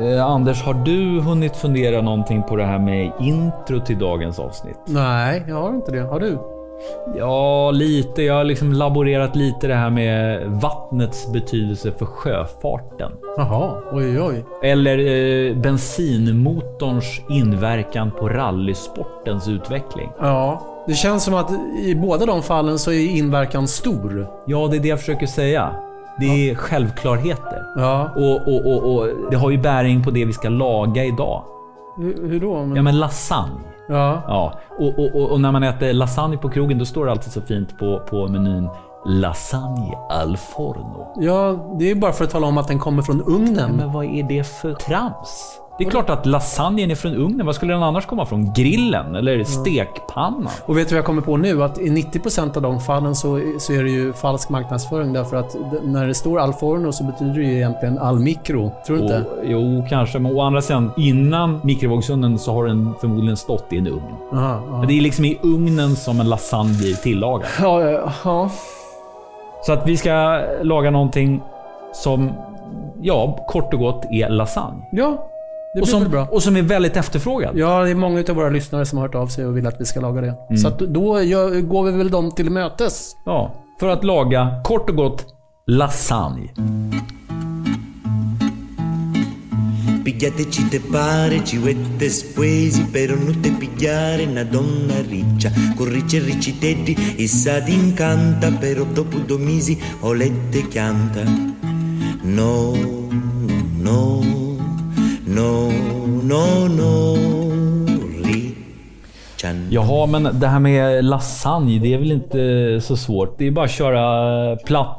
Eh, Anders, har du hunnit fundera någonting på det här med intro till dagens avsnitt? Nej, jag har inte det. Har du? Ja, lite. Jag har liksom laborerat lite det här med vattnets betydelse för sjöfarten. Jaha, oj oj. Eller eh, bensinmotorns inverkan på rallysportens utveckling. Ja. Det känns som att i båda de fallen så är inverkan stor. Ja, det är det jag försöker säga. Det är självklarheter. Ja. Och, och, och, och det har ju bäring på det vi ska laga idag. Hur, hur då? Men, Ja, ja. men lasagne. Ja, och, och, och, och när man äter lasagne på krogen, då står det alltid så fint på, på menyn lasagne al forno. Ja, det är bara för att tala om att den kommer från ugnen. Men vad är det för trams? Det är klart att lasagnen är från ugnen. Var skulle den annars komma från? Grillen eller stekpannan? Och vet du vad jag kommer på nu? Att i 90% av de fallen så, så är det ju falsk marknadsföring. Därför att d- när det står al forno så betyder det ju egentligen al micro. Tror du inte? Och, jo, kanske. Men å andra sidan, innan mikrovågsugnen så har den förmodligen stått i en ugn. Aha, ja. Men det är liksom i ugnen som en lasagne blir tillagad. Ja, ja, ja. Så att vi ska laga någonting som, ja, kort och gott är lasagne. ja det Och blir väl som, bra. och som är väldigt efterfrågad. Ja, det är många av våra lyssnare som har hört av sig och vill att vi ska laga det. Så att då gör, går vi väl dem till mötes. Ja, för att laga kort och gott lasagne. Pigliate ci te pare, ci vette spesi per non te pigliare una donna riccia. Con ricci e ricci tetti, e sa d'incanta, però dopo due mesi olette canta. No, no, no, no, no, riccian. Jaha, men det här med lasagne, det är väl inte så svårt? Det är bara att köra platta,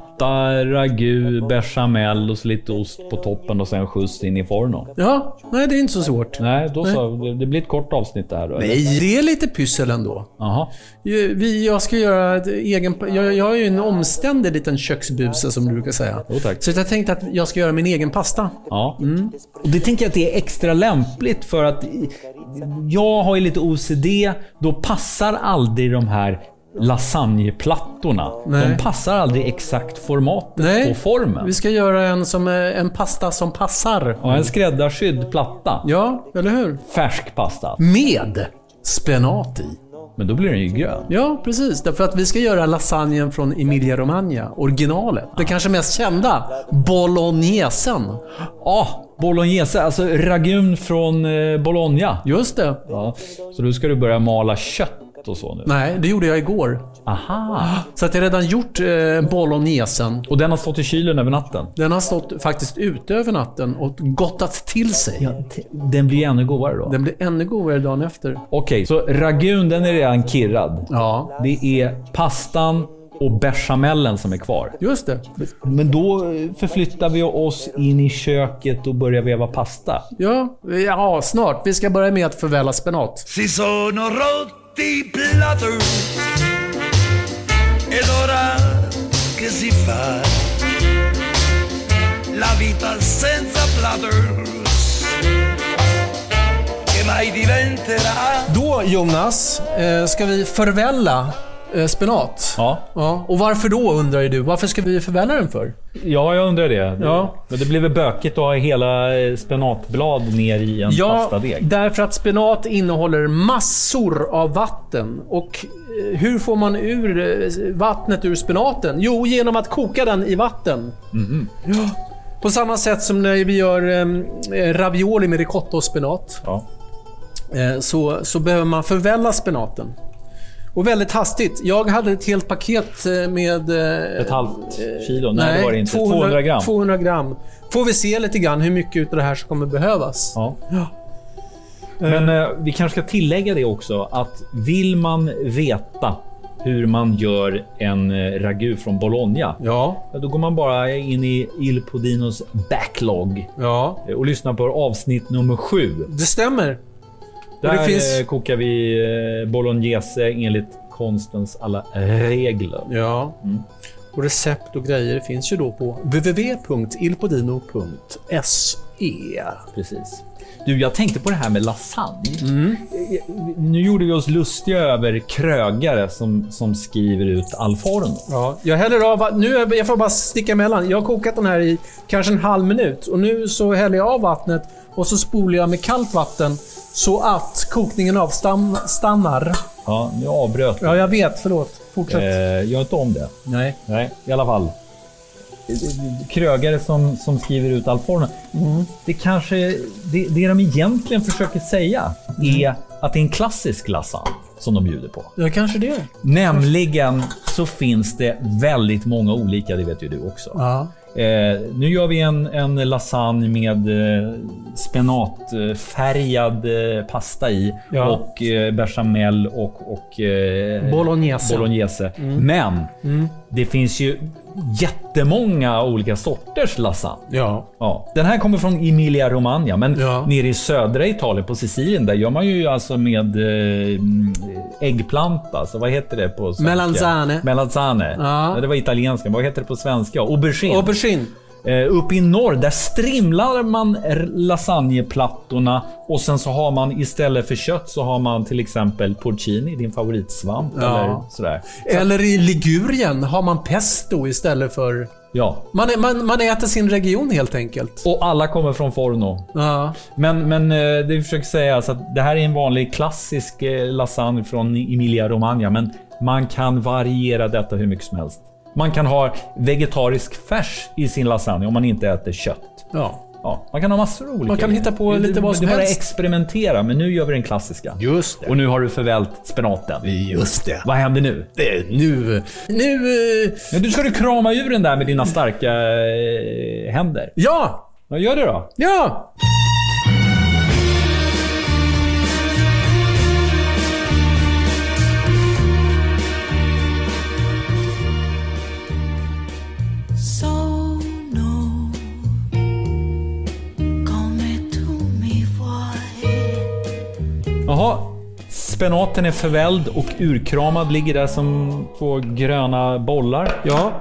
ragu, bechamel och så lite ost på toppen och sen skjuts in i forno. Ja, nej det är inte så svårt. Nej, då så. Det- Det blir ett kort avsnitt det här då. Nej, det är lite pyssel ändå. Jaha. Ju- Vi, jag ska göra ett egen... Jag, jag är ju en omständig liten köksbuse som du brukar säga. Jo, tack. Så jag tänkte att jag ska göra min egen pasta. Ja. Mm. Och det tänker jag att det är extra lämpligt för att jag har ju lite OCD. Då passar aldrig de här lasagneplattorna. Nej. De passar aldrig exakt formatet Nej, på formen. Vi ska göra en, som, eh, en pasta som passar. Ja, en skräddarsydd platta. Ja, eller hur? Färsk pasta. Med spenat i. Men då blir den ju grön. Ja, precis. Därför att vi ska göra lasagnen från Emilia Romagna, originalet. Det kanske mest kända, bolognesen. Ja, bolognese. Alltså ragun från eh, Bologna. Just det. Ja, så då ska du börja mala kött och så nu. Nej, det gjorde jag igår. Aha! Så att jag har redan gjort eh, bolognesen. Och den har stått i kylen över natten. Den har stått faktiskt ute över natten och gottat till sig. Den blir ju ännu godare då. Den blir ännu godare dagen efter. Okej, så ragun den är redan kirrad. Ja, Det är pastan och bechamelen som är kvar. just det. Men då eh, förflyttar vi oss in i köket och börjar veva pasta. Ja, ja, snart. Vi ska börja med att förvälla spenat. Si sono rotti i platter ed ora che si fa la vita senza platters che mai diventerà Då, Jonas, eh, ska vi förvälla eh, spenat. Ja, Ja, och varför då undrar ju du? Varför ska vi förvälla den för? ja jag undrar det. Ja. Men det blir väl bökigt att ha hela eh, spenatblad ner i en pastadeg. därför att spenat innehåller massor av vatten. Och eh, hur får man ur eh, vattnet ur spenaten? Jo, genom att koka den i vatten. Mm-hmm. Ja. På samma sätt som när vi gör eh, ravioli med ricotta och spenat Ja. eh, så, så behöver man förvälla spenaten. Och väldigt hastigt. Jag hade ett helt paket eh, med... eh, Ett halvt kilo? Nej, det var det inte. 200, gram. 200 gram. Får vi se lite grann hur mycket utav det här som kommer behövas. Ja. Men eh, vi kanske ska tillägga det också att vill man veta hur man gör en eh, ragu från Bologna, Ja, ja, då går man bara in i Il Podinos backlog ja. eh, och lyssnar på avsnitt nummer sju. Det stämmer. det Där det finns- kokar vi eh, bolognese enligt konstens alla regler. Ja. Mm. Och recept och grejer finns ju då på www.ilpodino.se. er. Precis. Du, jag tänkte på det här med lasagne. Nu gjorde vi oss lustiga över krögare som, som skriver ut al forno. Ja, jag häller av... va- Nu, är- jag får bara sticka emellan. Jag har kokat den här i kanske en halv minut och nu så häller jag av vattnet och så spolar jag med kallt vatten så att kokningen avstannar. Ja, nu avbröt jag. Ja, jag vet. Förlåt. Fortsätt. Eh, gör inte om det. Nej. Nej, i alla fall. Krögare som, som skriver ut all form. Det kanske, det, det de egentligen försöker säga är att det är en klassisk lasagne som de bjuder på. Ja, kanske det. Nämligen så finns det väldigt många olika, det vet ju du också. Ja. Eh, nu gör vi en, en lasagne med eh, spenatfärgad eh, pasta i Ja. och eh, bechamel och, och eh, Bolognese. Mm. bolognese. Men det finns ju jättemånga olika sorters lasagne. Ja. Ja, den här kommer från Emilia Romagna, men Ja. nere i södra Italien på Sicilien, där gör man ju alltså med eh, mm, äggplanta. Så vad heter det på svenska? Melanzane. Melanzane. Ja. Ja, det var italienska. Vad heter det på svenska? Aubergine. Aubergine. Eh, uppe i norr, där strimlar man r- lasagneplattorna och sen så har man istället för kött så har man till exempel porcini, din favoritsvamp Ja. eller sådär. Eller i Ligurien har man pesto istället för... Ja, Man, är- man, man äter sin region helt enkelt. och alla kommer från forno. Ja. Men, men eh, det vi försöker säga är alltså att det här är en vanlig klassisk eh, lasagne från Emilia Romagna, men man kan variera detta hur mycket som helst. Man kan ha vegetarisk färs i sin lasagne om man inte äter kött. ja. Ja, man kan ha massor av olika. Man kan grejer. hitta på lite vad du som bara helst. experimentera, men nu gör vi den klassiska. Just Och nu har du förvält spenaten. Just det. Vad händer nu? Nu... Nu... eh, Ja, du ska du krama ur den där med dina starka eh, händer. Ja! Ja, gör det då. Ja! Sono come tu mi vuoi. Jaha. Spenaten är förvälld och urkramad ligger där som två gröna bollar. Ja.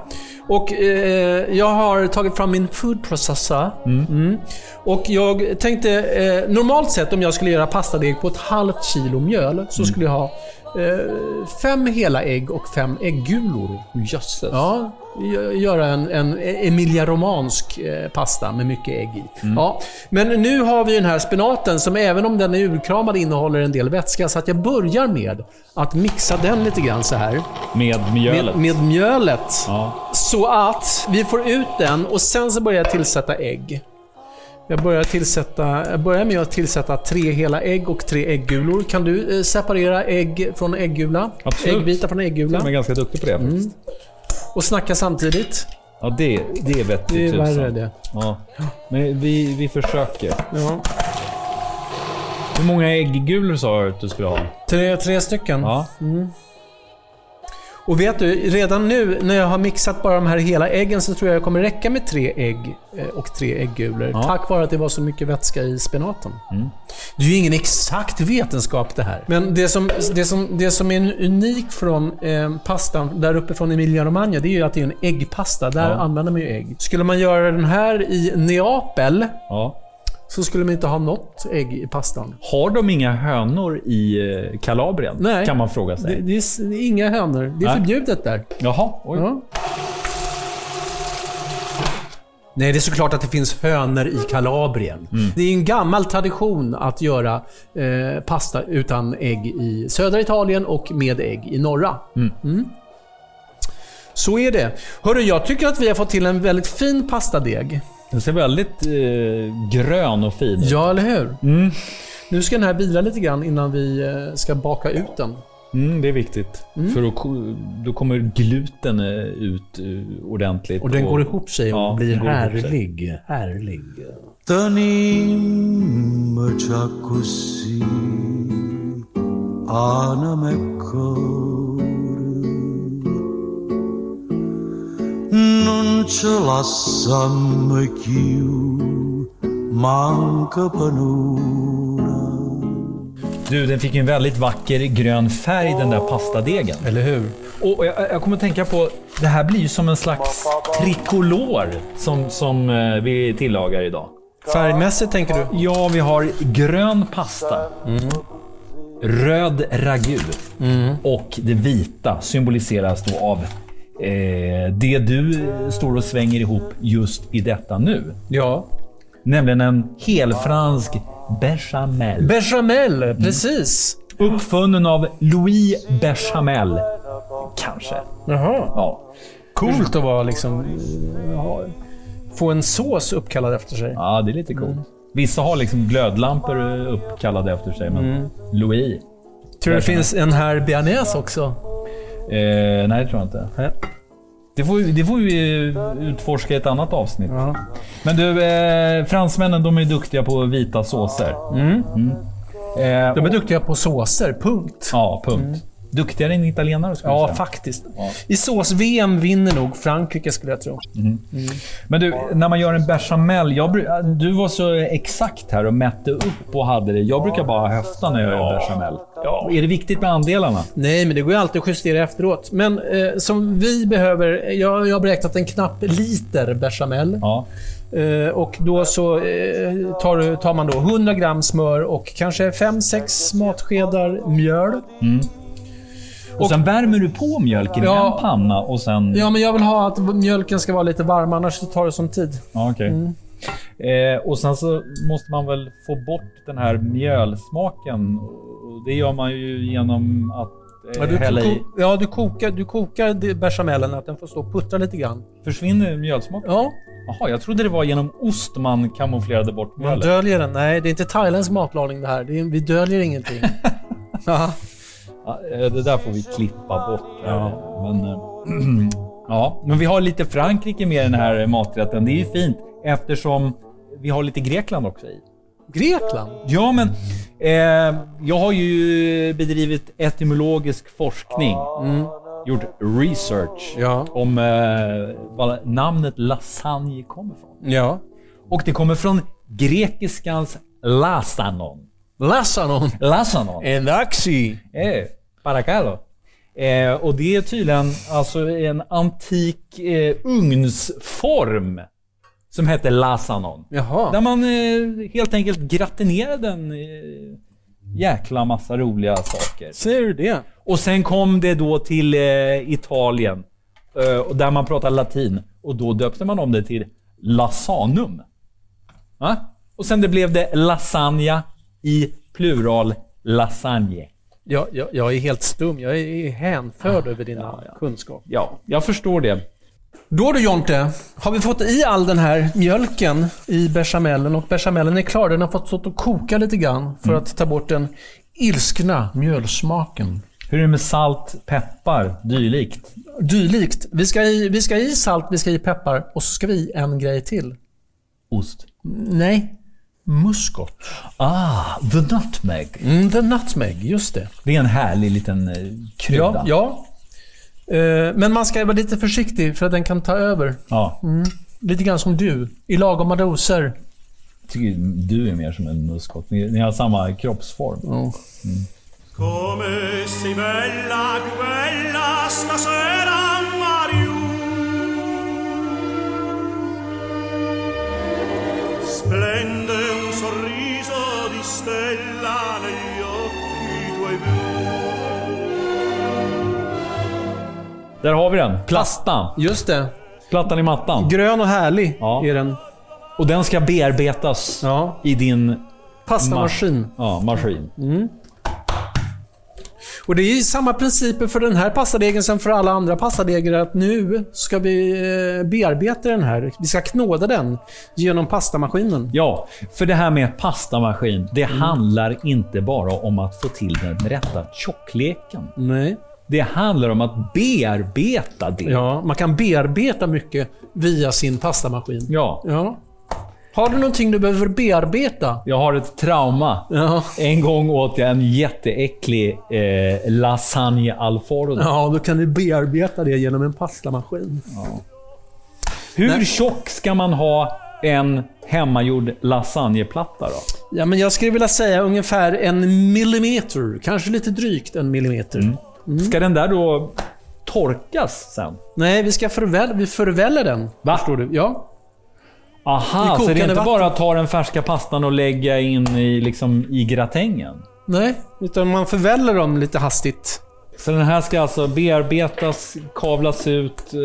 Och eh, jag har tagit fram min food processor. Mm. Och jag tänkte, eh, normalt sett om jag skulle göra pastadeg på ett halvt kilo mjöl så Mm. skulle jag ha eh, fem hela ägg och fem äggulor. Jösses. Ja, gö- göra en, en Emilia Romansk eh, pasta med mycket ägg i. Mm. Ja, men nu har vi den här spenaten som även om den är urkramad innehåller en del vätska. Så att jag börjar med att mixa den lite grann så här. Med mjölet. Med, med mjölet. Ja. Så att vi får ut den och sen så börjar jag tillsätta ägg. Jag börjar, tillsätta, jag börjar med att tillsätta tre hela ägg och tre äggulor. Kan du eh, separera ägg från äggula? Absolut. Äggvita från äggula. De är ganska duktig på det Mm. faktiskt. Och snacka samtidigt. Ja, det, det är vettigt Det är tusan. värre det. Ja. Men vi, vi försöker. Ja. Hur många äggulor sa du att du skulle ha? Tre, tre stycken. Ja. Och vet du, redan nu när jag har mixat bara de här hela äggen så tror jag det kommer räcka med tre ägg eh, och tre äggulor. Ja. Tack vare att det var så mycket vätska i spenaten. Mm. Det är ju ingen exakt vetenskap det här. Men det som, det som, det som är unikt från eh, pastan där uppe från Emilia Romagna, det är ju att det är en äggpasta. Där Ja. använder man ju ägg. Skulle man göra den här i Neapel ja. så skulle man inte ha något ägg i pastan. Har de inga hönor i eh, Kalabrien? Nej. Kan man fråga Det, sig. det, är, s- det är inga hönor. Det är Nej. förbjudet där. Jaha, oj. Ja. Nej, det är såklart att det finns hönor i Kalabrien. Det är en gammal tradition att göra eh, pasta utan ägg i södra Italien och med ägg i norra. Mm. Så är det. Hörru, jag tycker att vi har fått till en väldigt fin pastadeg. Den ser väldigt eh, grön och fin ut. Ja, eller hur? Mm. Nu ska den här vila lite grann innan vi eh, ska baka ut den. Mm, det är viktigt. För då, ko- då kommer gluten eh, ut eh, ordentligt. Och den går ihop sig och Ja, blir den går ihop sig. härlig. Härlig. Tanim così Anamecore Non ce la sam chiù Manca panura Du, den fick ju en väldigt vacker grön färg, den där pastadegen. Eller hur? Och jag, jag kommer att tänka på, det här blir ju som en slags tricolor som, som eh, vi tillagar idag. Färgmässigt tänker du? Ja, vi har grön pasta. Röd ragu. Och det vita symboliseras då av eh, det du står och svänger ihop just i detta nu. Ja. Nämligen en helfransk bechamel. Bechamel, Mm. precis. Uppfunnen av Louis Bechamel. Kanske. Jaha. Ja. Coolt att vara liksom... eh, ha- Få en sås uppkallad efter sig. Ja, det är lite coolt. Vissa har liksom glödlampor eh, uppkallade efter sig, men Louis? Tror det finns en här bearnaise också. Eh, nej, det tror jag inte. Nej. Det får, vi- det får vi eh, utforska i ett annat avsnitt. Men du, eh, fransmännen de är duktiga på vita såser. Mm. Eh, De och- är duktiga på såser, punkt. Ja, punkt. Duktigare än italienare skulle jag Mm. Ja, säga. faktiskt. I sås-VM vinner nog Frankrike skulle jag tro. Mm. Men du, när man gör en bechamel. Jag, bru- eh, du var så exakt här och mätte upp och hade det. Jag brukar bara höfta när jag gör bechamel. Är det viktigt med andelarna? Nej, men det går ju alltid att justera efteråt. Men eh, som vi behöver, jag, jag har beräknat en knapp liter bechamel. Ja. Eh, och då så eh, tar, du- tar man då 100 gram smör och kanske 5-6 matskedar mjöl. Och, sen värmer du på mjölken i Ja. en panna och sen... Ja, men jag vill ha att mjölken ska vara lite varm, annars så tar det som tid. Ja, okej. Eh, och sen så måste man väl få bort den här mjölsmaken. Och Det gör man ju genom att eh, Ja, du, hälla i. ko- ja, du kokar, du kokar det- bechamelen, att den får stå och puttra lite grann. Försvinner mjölsmaken? Ja, Jaha, jag trodde det var genom ost man kamouflerade bort man mjölet. döljer den. Nej, det är inte thailändsk matlagning det här. Det är, vi döljer ingenting. ja. Ja, eh, det där får vi klippa bort. Ja. Men, eh, ja. Men vi har lite Frankrike med i den här maträtten. Det är ju fint eftersom vi har lite Grekland också i. Grekland? Ja, men eh, jag har ju bedrivit etymologisk forskning. Mm. Gjort research Ja. om eh, var namnet lasagne kommer från. Ja. Och det kommer från grekiskans lasanon. Lassanon. Lasanon. En axi. Eh, paracalo. Eh, och det är tydligen alltså en antik eh, ugnsform som hette lasanon. Där Jaha. man eh, helt enkelt gratinerade en eh, jäkla massa roliga saker. Ser du det? Och sen kom det då till eh, Italien, eh, och där man pratar latin. Och då döpte man om det till lasanum. Va? Och sen det blev det lasagna i plural lasagne. Jag, jag, jag är helt stum. Jag är hänförd över dina kunskaper. Ja, jag förstår det. Då du Jonte, har vi fått i all den här mjölken i bechamelen och bechamelen är klar. Den har fått stått och koka lite grann Mm. för att ta bort den ilskna mjölsmaken. Hur är det med salt, peppar, dylikt? Dylikt. Vi ska, i, vi ska i salt, vi ska i peppar och så ska vi i en grej till. Ost. Nej. Muskot. Ah, the nutmeg. Mm, the nutmeg, just det. Det är en härlig liten eh, krydda. Ja, ja. Eh, Men man ska vara lite försiktig för att den kan ta över. Mm. ja. Lite grann som du, i lagoma doser. tycker du är mer som en muskot. Ni, ni har samma kroppsform. Come sei bella, più bella stasera, Mariù. Splende un sorriso di stella negli occhi tuoi blu. Där har vi den. Plastan. Just det. Plattan i mattan. Grön och härlig Ja. är den. Och den ska bearbetas Ja. i din Pastamaskin. ja, maskin. Och det är ju samma principer för den här pastadegen som för alla andra pastadegar. Att nu ska vi eh, bearbeta den här. Vi ska knåda den genom pastamaskinen. Ja, för det här med pastamaskin, det Mm. handlar inte bara om att få till den rätta tjockleken. Nej. Det handlar om att bearbeta det. Ja, man kan bearbeta mycket via sin pastamaskin. ja. Ja. Har du någonting du behöver bearbeta? Jag har ett trauma. Ja. En gång åt jag en jätteäcklig eh, lasagne al forno. Ja, då kan du bearbeta det genom en pastamaskin. Hur tjock ska man ha en hemmagjord lasagneplatta då? Ja, men jag skulle vilja säga ungefär en millimeter. Kanske lite drygt en millimeter. Ska den där då torkas sen? Nej, vi ska förväl, vi förväller den. Va? Förstår du? Ja. I Aha, så det kokande är inte vatten. bara att ta den färska pastan och lägga in i, liksom, i gratängen? Nej, utan man förväller dem lite hastigt. Så den här ska alltså bearbetas, kavlas ut eh,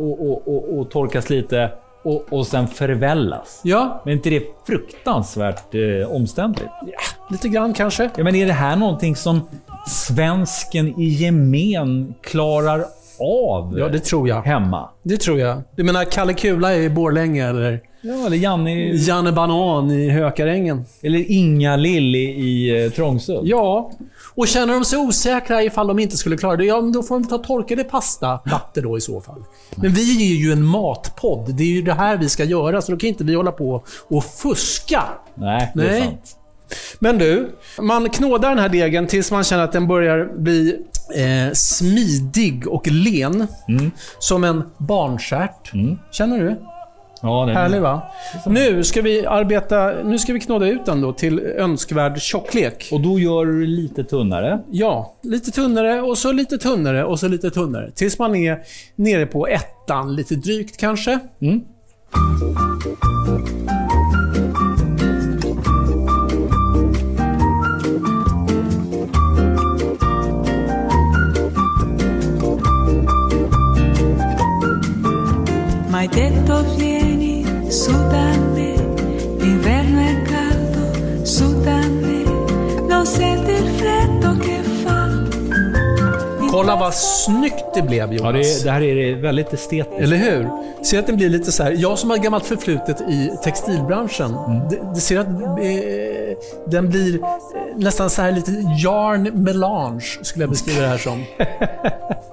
och, och, och, och torkas lite och, och sen förvällas. Ja, Men är inte det fruktansvärt eh, omständligt? lite grann kanske. Ja, men är det här någonting som svensken i gemen klarar av Ja, det tror jag. hemma? Det tror jag. Du menar Kalle Kula i Borlänge eller Ja, eller Janne... Janne Banan i Hökarängen? Eller Inga Lilli i eh, Trångsund? Ja. Och känner de sig osäkra ifall de inte skulle klara det, ja, men då får de ta torkade pasta, latte då i så fall. Men vi är ju en matpodd. Det är ju det här vi ska göra, så då kan inte vi hålla på och fuska. Nej, det Nej. är sant. Men du, man knådar den här degen tills man känner att den börjar bli eh, smidig och len. Mm. Som en barnstjärt. Känner du? Ja, den, Härlig va? Mm. Nu ska vi arbeta, nu ska vi knåda ut den då till önskvärd tjocklek. Och då gör du det lite tunnare. Ja, lite tunnare och så lite tunnare och så lite tunnare. Tills man är nere på ettan, lite drygt kanske. Ma hai detto vieni su da me, l'inverno è caldo, su da me, lo senti il freddo che fa. Kolla vad snyggt det blev Jonas. Ja, det, det här är det väldigt estetiskt. Eller hur? Ser att den blir lite så här. Jag som har gammalt förflutet i textilbranschen. Det, det ser att eh, den blir eh, nästan så här lite yarn melange, skulle jag beskriva det här som.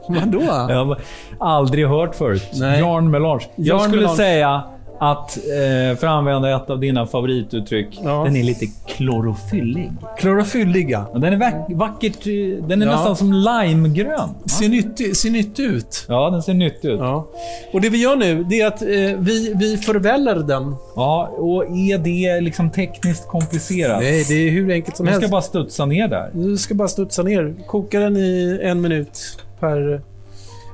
Vadå? Jag har aldrig hört förut. Nej. Jarn melange. Jag Jarn skulle melange. säga att, eh, för att använda ett av dina favorituttryck, Ja. den är lite klorofyllig. Klorofylliga. Den är vack- vackert, eh, den är Ja. nästan som limegrön. Ser nyttig, ser nyttig ut. Ja, den ser nyttig ut. Ja. Ja. Och det vi gör nu, det är att eh, vi, vi förväller den. och är det liksom tekniskt komplicerat? Nej, det är hur enkelt som Jag ska helst. bara studsa ner där. Du ska bara studsa ner. Koka den i en minut per...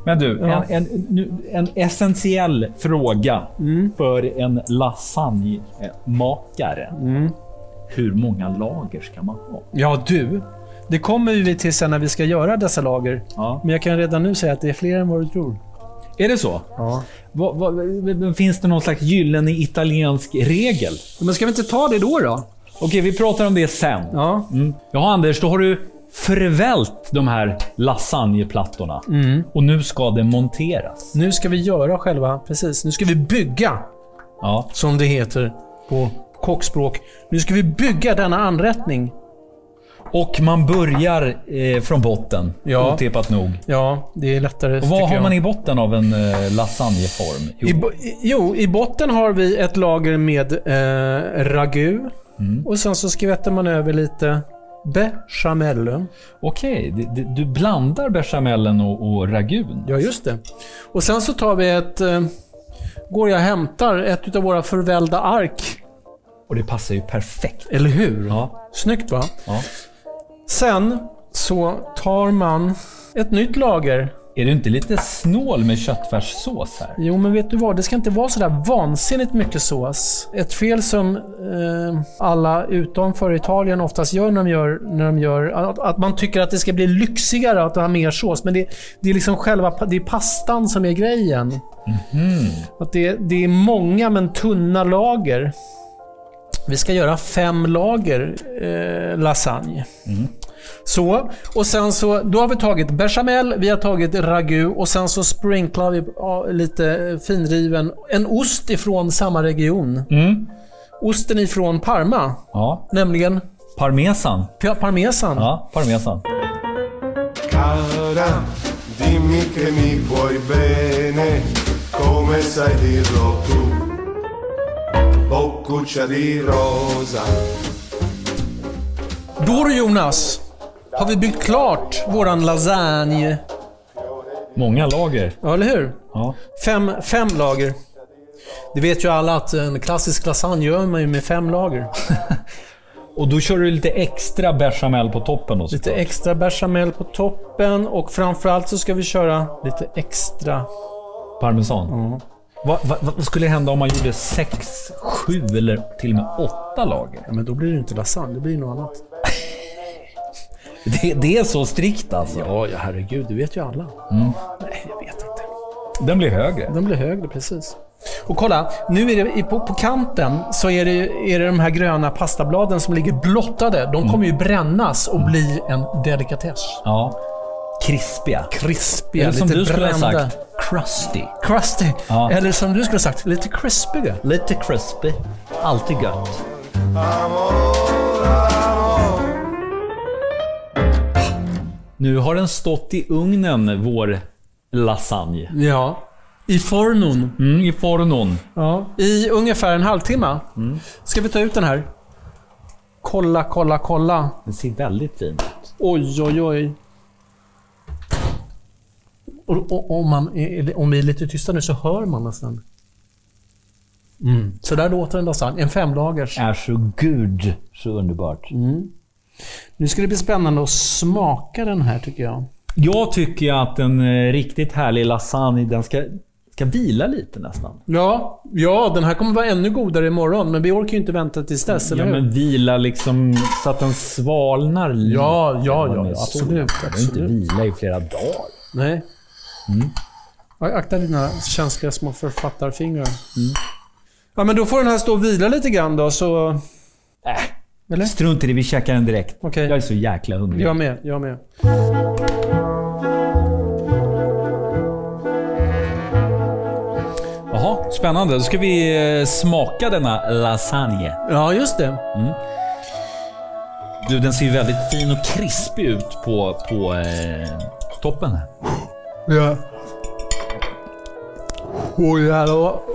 Men du, Ja. en, en, nu- en essentiell fråga för en lasagnemakare. Hur många lager ska man ha? Ja, du. Det kommer vi till sen när vi ska göra dessa lager. Ja. Men jag kan redan nu säga att det är fler än vad du tror. Är det så? Ja. Vad- vad- finns det någon slags gyllene italiensk regel? Men ska vi inte ta det då? då? Okej, vi pratar om det sen. Ja. Mm. Jaha, Anders, då har du förvält de här lasagneplattorna. Och nu ska det monteras. Nu ska vi göra själva... Precis. Nu ska vi bygga, Ja. som det heter på kockspråk. Nu ska vi bygga denna anrättning. Och man börjar eh, från botten, Ja. otippat nog. Ja, det är lättare. Och vad tycker har jag. man i botten av en eh, lasagneform? Jo, I, bo- i- jo, i botten har vi ett lager med eh, ragu. Mm. Och sen så skvätter man över lite bechamel. Okej, d- d- du blandar bechamelen och, och ragun. Ja, just det. Och sen så tar vi ett... Eh, går jag och hämtar ett av våra förvällda ark. Och det passar ju perfekt. Eller hur? Ja. Snyggt va? Ja. Sen så tar man ett nytt lager. Är du inte lite snål med köttfärssås här? Jo, men vet du vad? Det ska inte vara sådär vansinnigt mycket sås. Ett fel som eh, alla utanför Italien oftast gör när de gör, när de gör att, att man tycker att det ska bli lyxigare att ha mer sås. Men det, det är liksom själva pa- det är pastan som är grejen. Att det, det är många men tunna lager. Vi ska göra fem lager eh, lasagne. Mm. Så, och sen så, då har vi tagit bechamel, vi har tagit ragu och sen så sprinklar vi ja, lite finriven, en ost ifrån samma region. Mm. Osten ifrån Parma, Ja. nämligen Parmesan. pa- parmesan. Ja, parmesan. Cara, dimmi che mi vuoi bene, come sai dirlo tu. Boccuccia di rosa, Då du Jonas, har vi byggt klart våran lasagne. Många lager. Ja, eller hur? Ja. Fem, fem lager. Det vet ju alla att en klassisk lasagne gör man ju med fem lager. Och då kör du lite extra bechamel på toppen då Lite såklart. extra bechamel på toppen och framförallt så ska vi köra lite extra Parmesan. Vad, vad, vad skulle hända om man gjorde sex, sju eller till och med åtta lager? Ja, men då blir det inte lasagne, det blir något annat. Det, det är så strikt alltså. Ja, ja herregud, det vet ju alla. Mm. Nej, jag vet inte. Den blir högre. Den blir högre, precis. Och kolla, nu är det i- på, på kanten så är det, är det de här gröna pastabladen som ligger blottade. Mm. De kommer ju brännas och bli en delikatess. Ja. Krispiga. Krispiga, Eller som lite du skulle ha brända. sagt, crusty. Crusty. Ja. Eller som du skulle ha sagt, lite crispiga. Lite crispy. Alltid gött. Amor, amor Nu har den stått i ugnen, vår lasagne. Ja. I fornon. Mm, I fornon. Ja. Mm. I ungefär en halvtimme. Ska vi ta ut den här? Kolla, kolla, kolla. Den ser väldigt fin ut. Oj, oj, oj. Och, och, om, man, är- om vi är lite tysta nu så hör man nästan. Mm. Så där låter en lasagne. En femlagers. Är så gud så underbart. Nu ska det bli spännande att smaka den här tycker jag. Jag tycker ju att en eh, riktigt härlig lasagne, den ska, ska vila lite nästan. Ja, ja, den här kommer vara ännu godare imorgon, men vi orkar ju inte vänta tills dess, Ja, eller hur? men vila liksom så att den svalnar lite. Ja, ja, ja, Den är ja, stor. absolut, Den behöver absolut. inte vila i flera dagar. Nej. Mm. Akta dina känsliga små författarfingrar. Ja, men då får den här stå och vila lite grann då, så... Äh. Eller? Strunt i det, vi käkar den direkt. Okej. Jag är så jäkla hungrig. Jag med, jag med. Jaha, spännande. Då ska vi eh, smaka denna lasagne. Ja, just det. Du, den ser ju väldigt fin och krispig ut på, på eh, toppen. här. Ja. Oj, det var,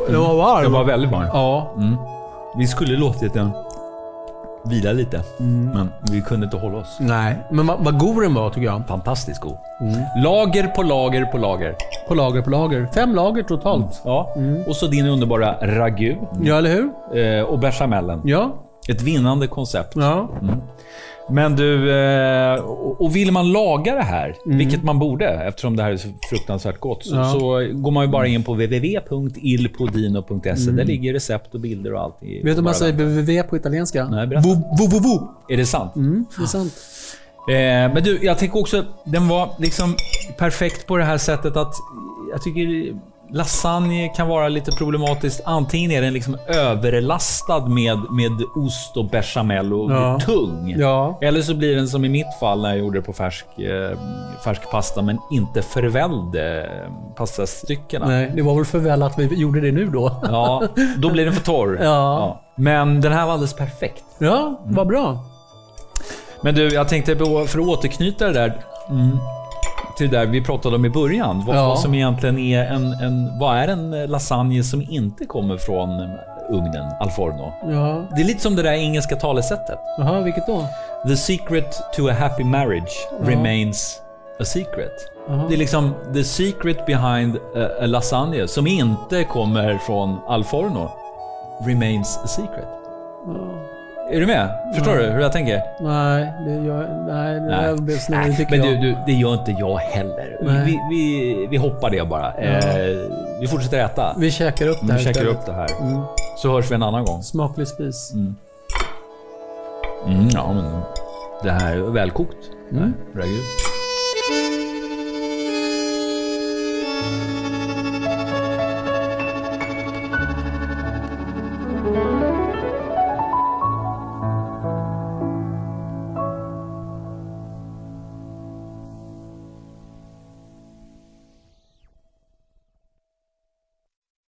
Mm. det var Mm. varm. Den var väldigt varm. Ja. Vi skulle låtit den vila lite, Mm. men vi kunde inte hålla oss. Nej, men vad, vad god den var tycker jag. Fantastiskt god. Mm. Lager på lager på lager. På lager, på lager. Fem lager totalt. Ja. Mm. Och så din underbara ragu Ja, eller hur? eh, och bechamelen. Ja. Ett vinnande koncept. Ja. Men du, eh, och och vill man laga det här, vilket man borde eftersom det här är så fruktansvärt gott, så, Mm. Ja. så går man ju bara in på www.ilpodino.se. Där ligger recept och bilder och allt. i- Mm. Vet du vad bara man säger www på italienska? Nej, berätta. Vo- vo- vo- vo. Mm. där. Är det sant? Det är sant. Eh, men du, jag tänker också, den var liksom perfekt på det här sättet att jag tycker lasagne kan vara lite problematiskt. Antingen är den liksom överlastad med, med ost och bechamel och Ja. tung. Ja. Eller så blir den som i mitt fall när jag gjorde det på färsk, eh, färsk pasta, men inte förvälld eh, pastastyckena. Nej, det var väl för väl att vi gjorde det nu då. Ja, då blir den för torr. Ja. Men den här var alldeles perfekt. Ja, Mm. vad bra. Men du, jag tänkte på, för att återknyta det där mm, till det där vi pratade om i början. Vad, Ja. vad som egentligen är en, en... Vad är en lasagne som inte kommer från ugnen, al forno? Ja. Det är lite som det där engelska talesättet. Jaha, vilket då? The secret to a happy marriage remains a secret. Det är liksom the secret behind a, a lasagne som inte kommer från al forno remains a secret. Är du med? Förstår du hur jag tänker? Nej, det gör nej, nej. jag blev snäll, tycker men du, jag. du, det gör inte jag heller. Nej. Vi, vi, vi hoppar det bara. Eh, vi fortsätter äta. Vi käkar upp det Mm. här Mm, Vi käkar istället. upp det här. Så hörs vi en annan gång. Smaklig spis. Mm, ja, men det här är välkokt. Mm.